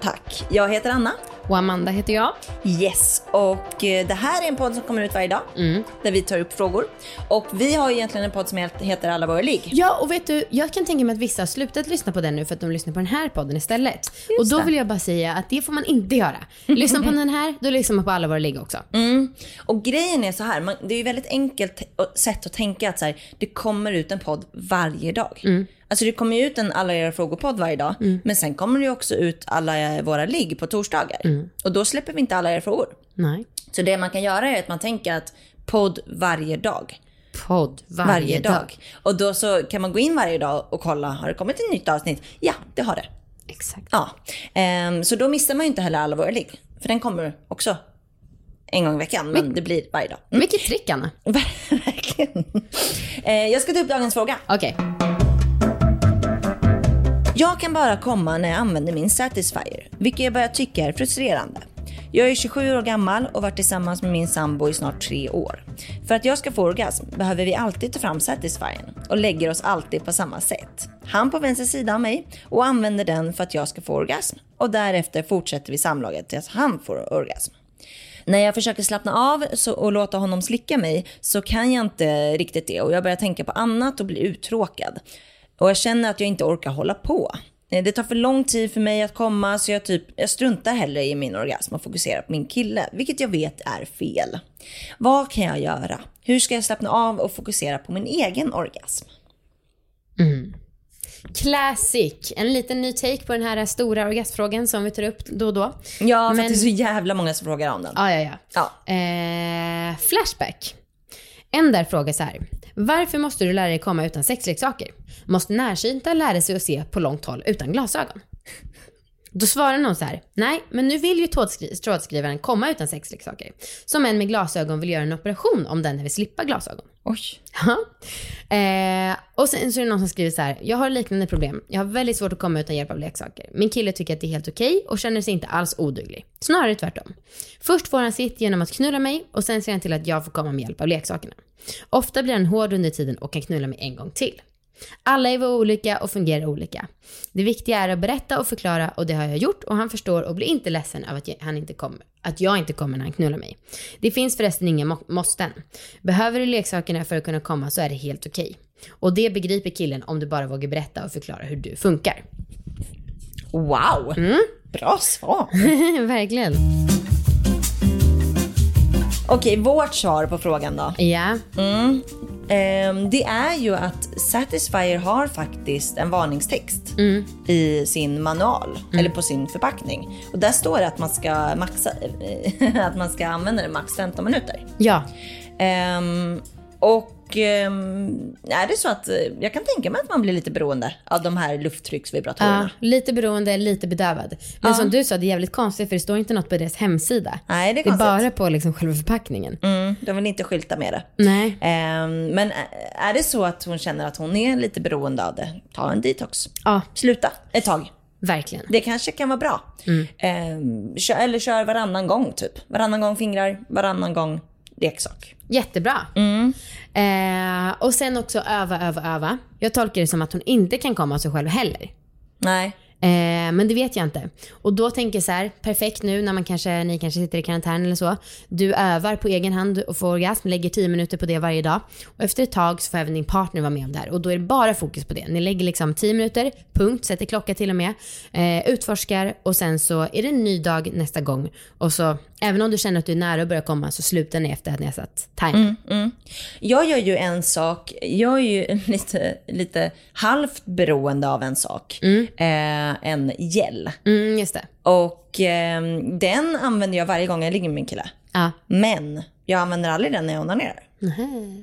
Tack. Jag heter Anna. Och Amanda heter jag. Yes, och eh, det här är en podd som kommer ut varje dag där vi tar upp frågor. Och vi har ju egentligen en podd som heter Alla våra ligg. Ja, och vet du, jag kan tänka mig att vissa har slutat lyssna på den nu för att de lyssnar på den här podden istället. och då det. vill jag bara säga att det får man inte göra. Lyssna på den här, då lyssnar man på alla våra ligg också. Och grejen är så här, man, det är ju väldigt enkelt eh, sätt att tänka att så här, det kommer ut en podd varje dag. Mm. Alltså det kommer ju ut en Alla era frågor-podd varje dag, men sen kommer det ju också ut Alla våra ligg på torsdagar. Mm. Och då släpper vi inte Alla era frågor. Nej. Så det man kan göra är att man tänker att podd varje dag. Podd varje, varje dag. dag. Och då så kan man gå in varje dag och kolla, har det kommit ett nytt avsnitt? Ja, det har det. Exakt. Ja. Ehm, så då missar man ju inte heller alla våra ligg. För den kommer också en gång i veckan, men det blir varje dag. Mm. Vilket trick Anna. Verkligen. Eh, jag ska ta upp dagens fråga. Okej. Jag kan bara komma när jag använder min Satisfyer, vilket jag börjar tycka är frustrerande. Jag är 27 år gammal och varit tillsammans med min sambo i snart tre år. För att jag ska få orgasm behöver vi alltid ta fram Satisfyern och lägger oss alltid på samma sätt. Han på vänster sida av mig och använder den för att jag ska få orgasm och därefter fortsätter vi samlaget tills han får orgasm. När jag försöker slappna av så, och låta honom slicka mig så kan jag inte riktigt det och jag börjar tänka på annat och blir uttråkad. Och jag känner att jag inte orkar hålla på. Eh, Det tar för lång tid för mig att komma så jag, typ, jag struntar hellre i min orgasm och fokuserar på min kille, vilket jag vet är fel. Vad kan jag göra? Hur ska jag slappna av och fokusera på min egen orgasm? Classic. En liten ny take på den här stora orgasmfrågan som vi tar upp då och då. Ja, för Men- att det är så jävla många som frågar om den. Ja, ja, ja. Ja. Eh, flashback. En där frågar så här. Varför måste du lära dig komma utan sexleksaker? Måste närsynta lära sig att se på långt håll utan glasögon? Då svarar någon så här. Nej, men nu vill ju trådskri- trådskrivaren komma utan sexleksaker. Som en med glasögon vill göra en operation om den vill slippa glasögon. Oj. Ja. Eh, och sen så är det någon som skriver så här. Jag har liknande problem. Jag har väldigt svårt att komma utan hjälp av leksaker. Min kille tycker att det är helt okej och känner sig inte alls oduglig. Snarare tvärtom. Först får han sitt genom att knulla mig och sen ser han till att jag får komma med hjälp av leksakerna. Ofta blir han hård under tiden och kan knulla mig en gång till. Alla är vi olika och fungerar olika. Det viktiga är att berätta och förklara och det har jag gjort och han förstår och blir inte ledsen över att jag, han inte kommer, att jag inte kommer när han knullar mig. Det finns förresten inga må- måsten. Behöver du leksakerna för att kunna komma så är det helt okej. Och det begriper killen om du bara vågar berätta och förklara hur du funkar. Wow! Bra svar. Verkligen. Okej, vårt svar på frågan då. Ja. Ehm, det är ju att Satisfyer har faktiskt en varningstext i sin manual eller på sin förpackning. Och där står det att man ska, maxa, att man ska använda det max 15 minuter. Ja. Ehm, och ehm, är det så att eh, jag kan tänka mig att man blir lite beroende av de här lufttrycksvibratorerna. ja. Lite beroende, lite bedövad. Men som du sa, det är jävligt konstigt för det står inte något på deras hemsida. Nej, det är det är konstigt. bara på liksom själva förpackningen. Mm, de vill inte skylta med det. Nej. Ehm, men ä- är det så att hon känner att hon är lite beroende av det, ta en detox. Ja, Sluta ett tag. verkligen. Det kanske kan vara bra. Ehm, kö- eller kör varannan gång typ. Varannan gång fingrar, varannan gång leksak. Jättebra. Eh, och sen också öva, öva, öva. Jag tolkar det som att hon inte kan komma av sig själv heller. Nej. Eh, men det vet jag inte. Och då tänker jag så här, perfekt nu när man kanske, ni kanske sitter i karantän eller så. Du övar på egen hand och får orgasm, lägger 10 minuter på det varje dag. Och efter ett tag så får även din partner vara med om det här. Och då är det bara fokus på det. Ni lägger liksom 10 minuter, punkt, sätter klocka till och med. Eh, utforskar och sen så är det en ny dag nästa gång. Och så, även om du känner att du är nära att börja komma så slutar ni efter att ni har satt timer. Jag gör ju en sak, jag är ju lite, lite halvt beroende av en sak. Eh, en gel. Mm, just det. Och ehm, den använder jag varje gång jag ligger med min kille. Ja. Men jag använder aldrig den när jag onanerar.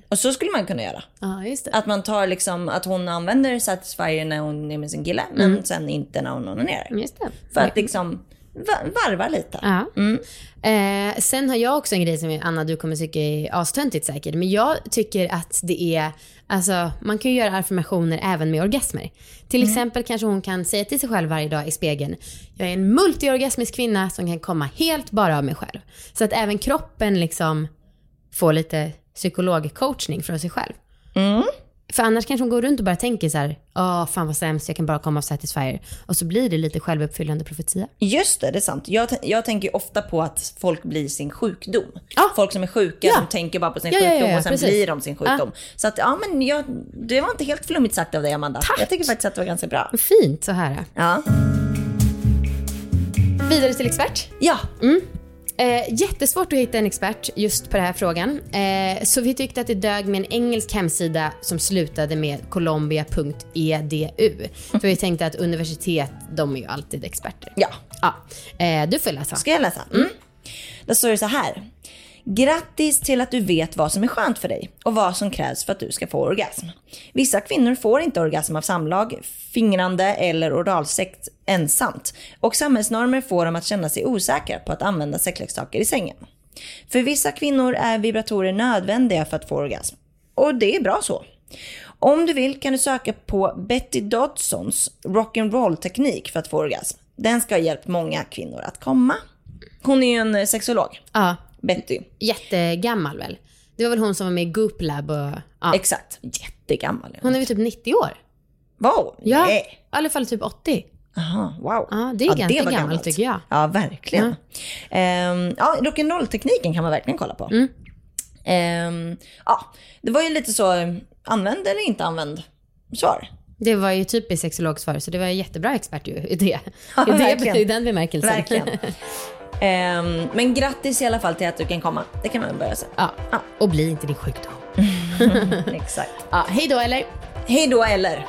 Och så skulle man kunna göra. Ja, just det. Att man tar liksom, att hon använder Satisfyer när hon är med sin kille, men sen inte när hon onanerar. Mm, Just det. För att liksom, va- varva lite. Ja. Eh, sen har jag också en grej som Anna du kommer tycka är astöntigt säkert. Men jag tycker att det är, alltså man kan ju göra affirmationer även med orgasmer. Till exempel kanske hon kan säga till sig själv varje dag i spegeln. Jag är en multiorgasmisk kvinna som kan komma helt bara av mig själv. Så att även kroppen liksom får lite psykologcoachning från sig själv. Mm. För annars kanske hon går runt och bara tänker så här, åh fan vad sämst, jag kan bara komma av Satisfyer. Och så blir det lite självuppfyllande profetia. Just det, det är sant. Jag, t- jag tänker ju ofta på att folk blir sin sjukdom. Ja. Folk som är sjuka Ja. som tänker bara på sin Ja, ja, ja, sjukdom ja, och sen precis. blir de sin sjukdom. Så att, ja men jag, det var inte helt flummigt sagt av dig Amanda. Tack. Jag tycker faktiskt att det var ganska bra. Fint så här. Ja. Vidare till expert. Ja, Mm. Eh, jättesvårt att hitta en expert just på den här frågan. Eh, så vi tyckte att det dög med en engelsk hemsida som slutade med colombia.edu. För vi tänkte att universitet, de är ju alltid experter. ja. Ja. Eh, du får läsa. Ska jag läsa? Mm. Då står det så här. Grattis till att du vet vad som är skönt för dig och vad som krävs för att du ska få orgasm. Vissa kvinnor får inte orgasm av samlag, fingrande eller oralsex ensamt. Och samhällsnormer får dem att känna sig osäkra på att använda sexleksaker i sängen. För vissa kvinnor är vibratorer nödvändiga för att få orgasm. Och det är bra så. Om du vill kan du söka på Betty Dodsons rock'n'roll-teknik för att få orgasm. Den ska ha hjälpt många kvinnor att komma. Hon är ju en eh, sexolog, Ja, Betty. jättegammal väl? Det var väl hon som var med i Goop Lab och... Ja. Exakt. Jättegammal. Hon är väl typ 90 år? Wow! Ja. I Nej. alla fall typ 80. Aha, wow. Ja, det är ganska var gammalt, gammalt. tycker jag. Ja, verkligen. Ehm, ja, rock'n'roll-tekniken kan man verkligen kolla på. Mm. Ehm, ja, det var ju lite så, eh, använd eller inte använd svar. Det var ju typiskt sexologsvar, så det var en jättebra expert ju i det. Ja, I, det verkligen. I den bemärkelsen. Verkligen. Ehm, men grattis i alla fall till att du kan komma. Det kan man börja säga. Ja. Och bli inte din sjukdom. Exakt. Ja, hej då eller? Hej då eller?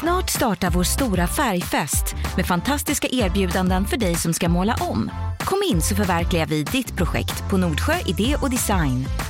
Snart startar vår stora färgfest med fantastiska erbjudanden för dig som ska måla om. Kom in så förverkligar vi ditt projekt på Nordsjö Idé och Design.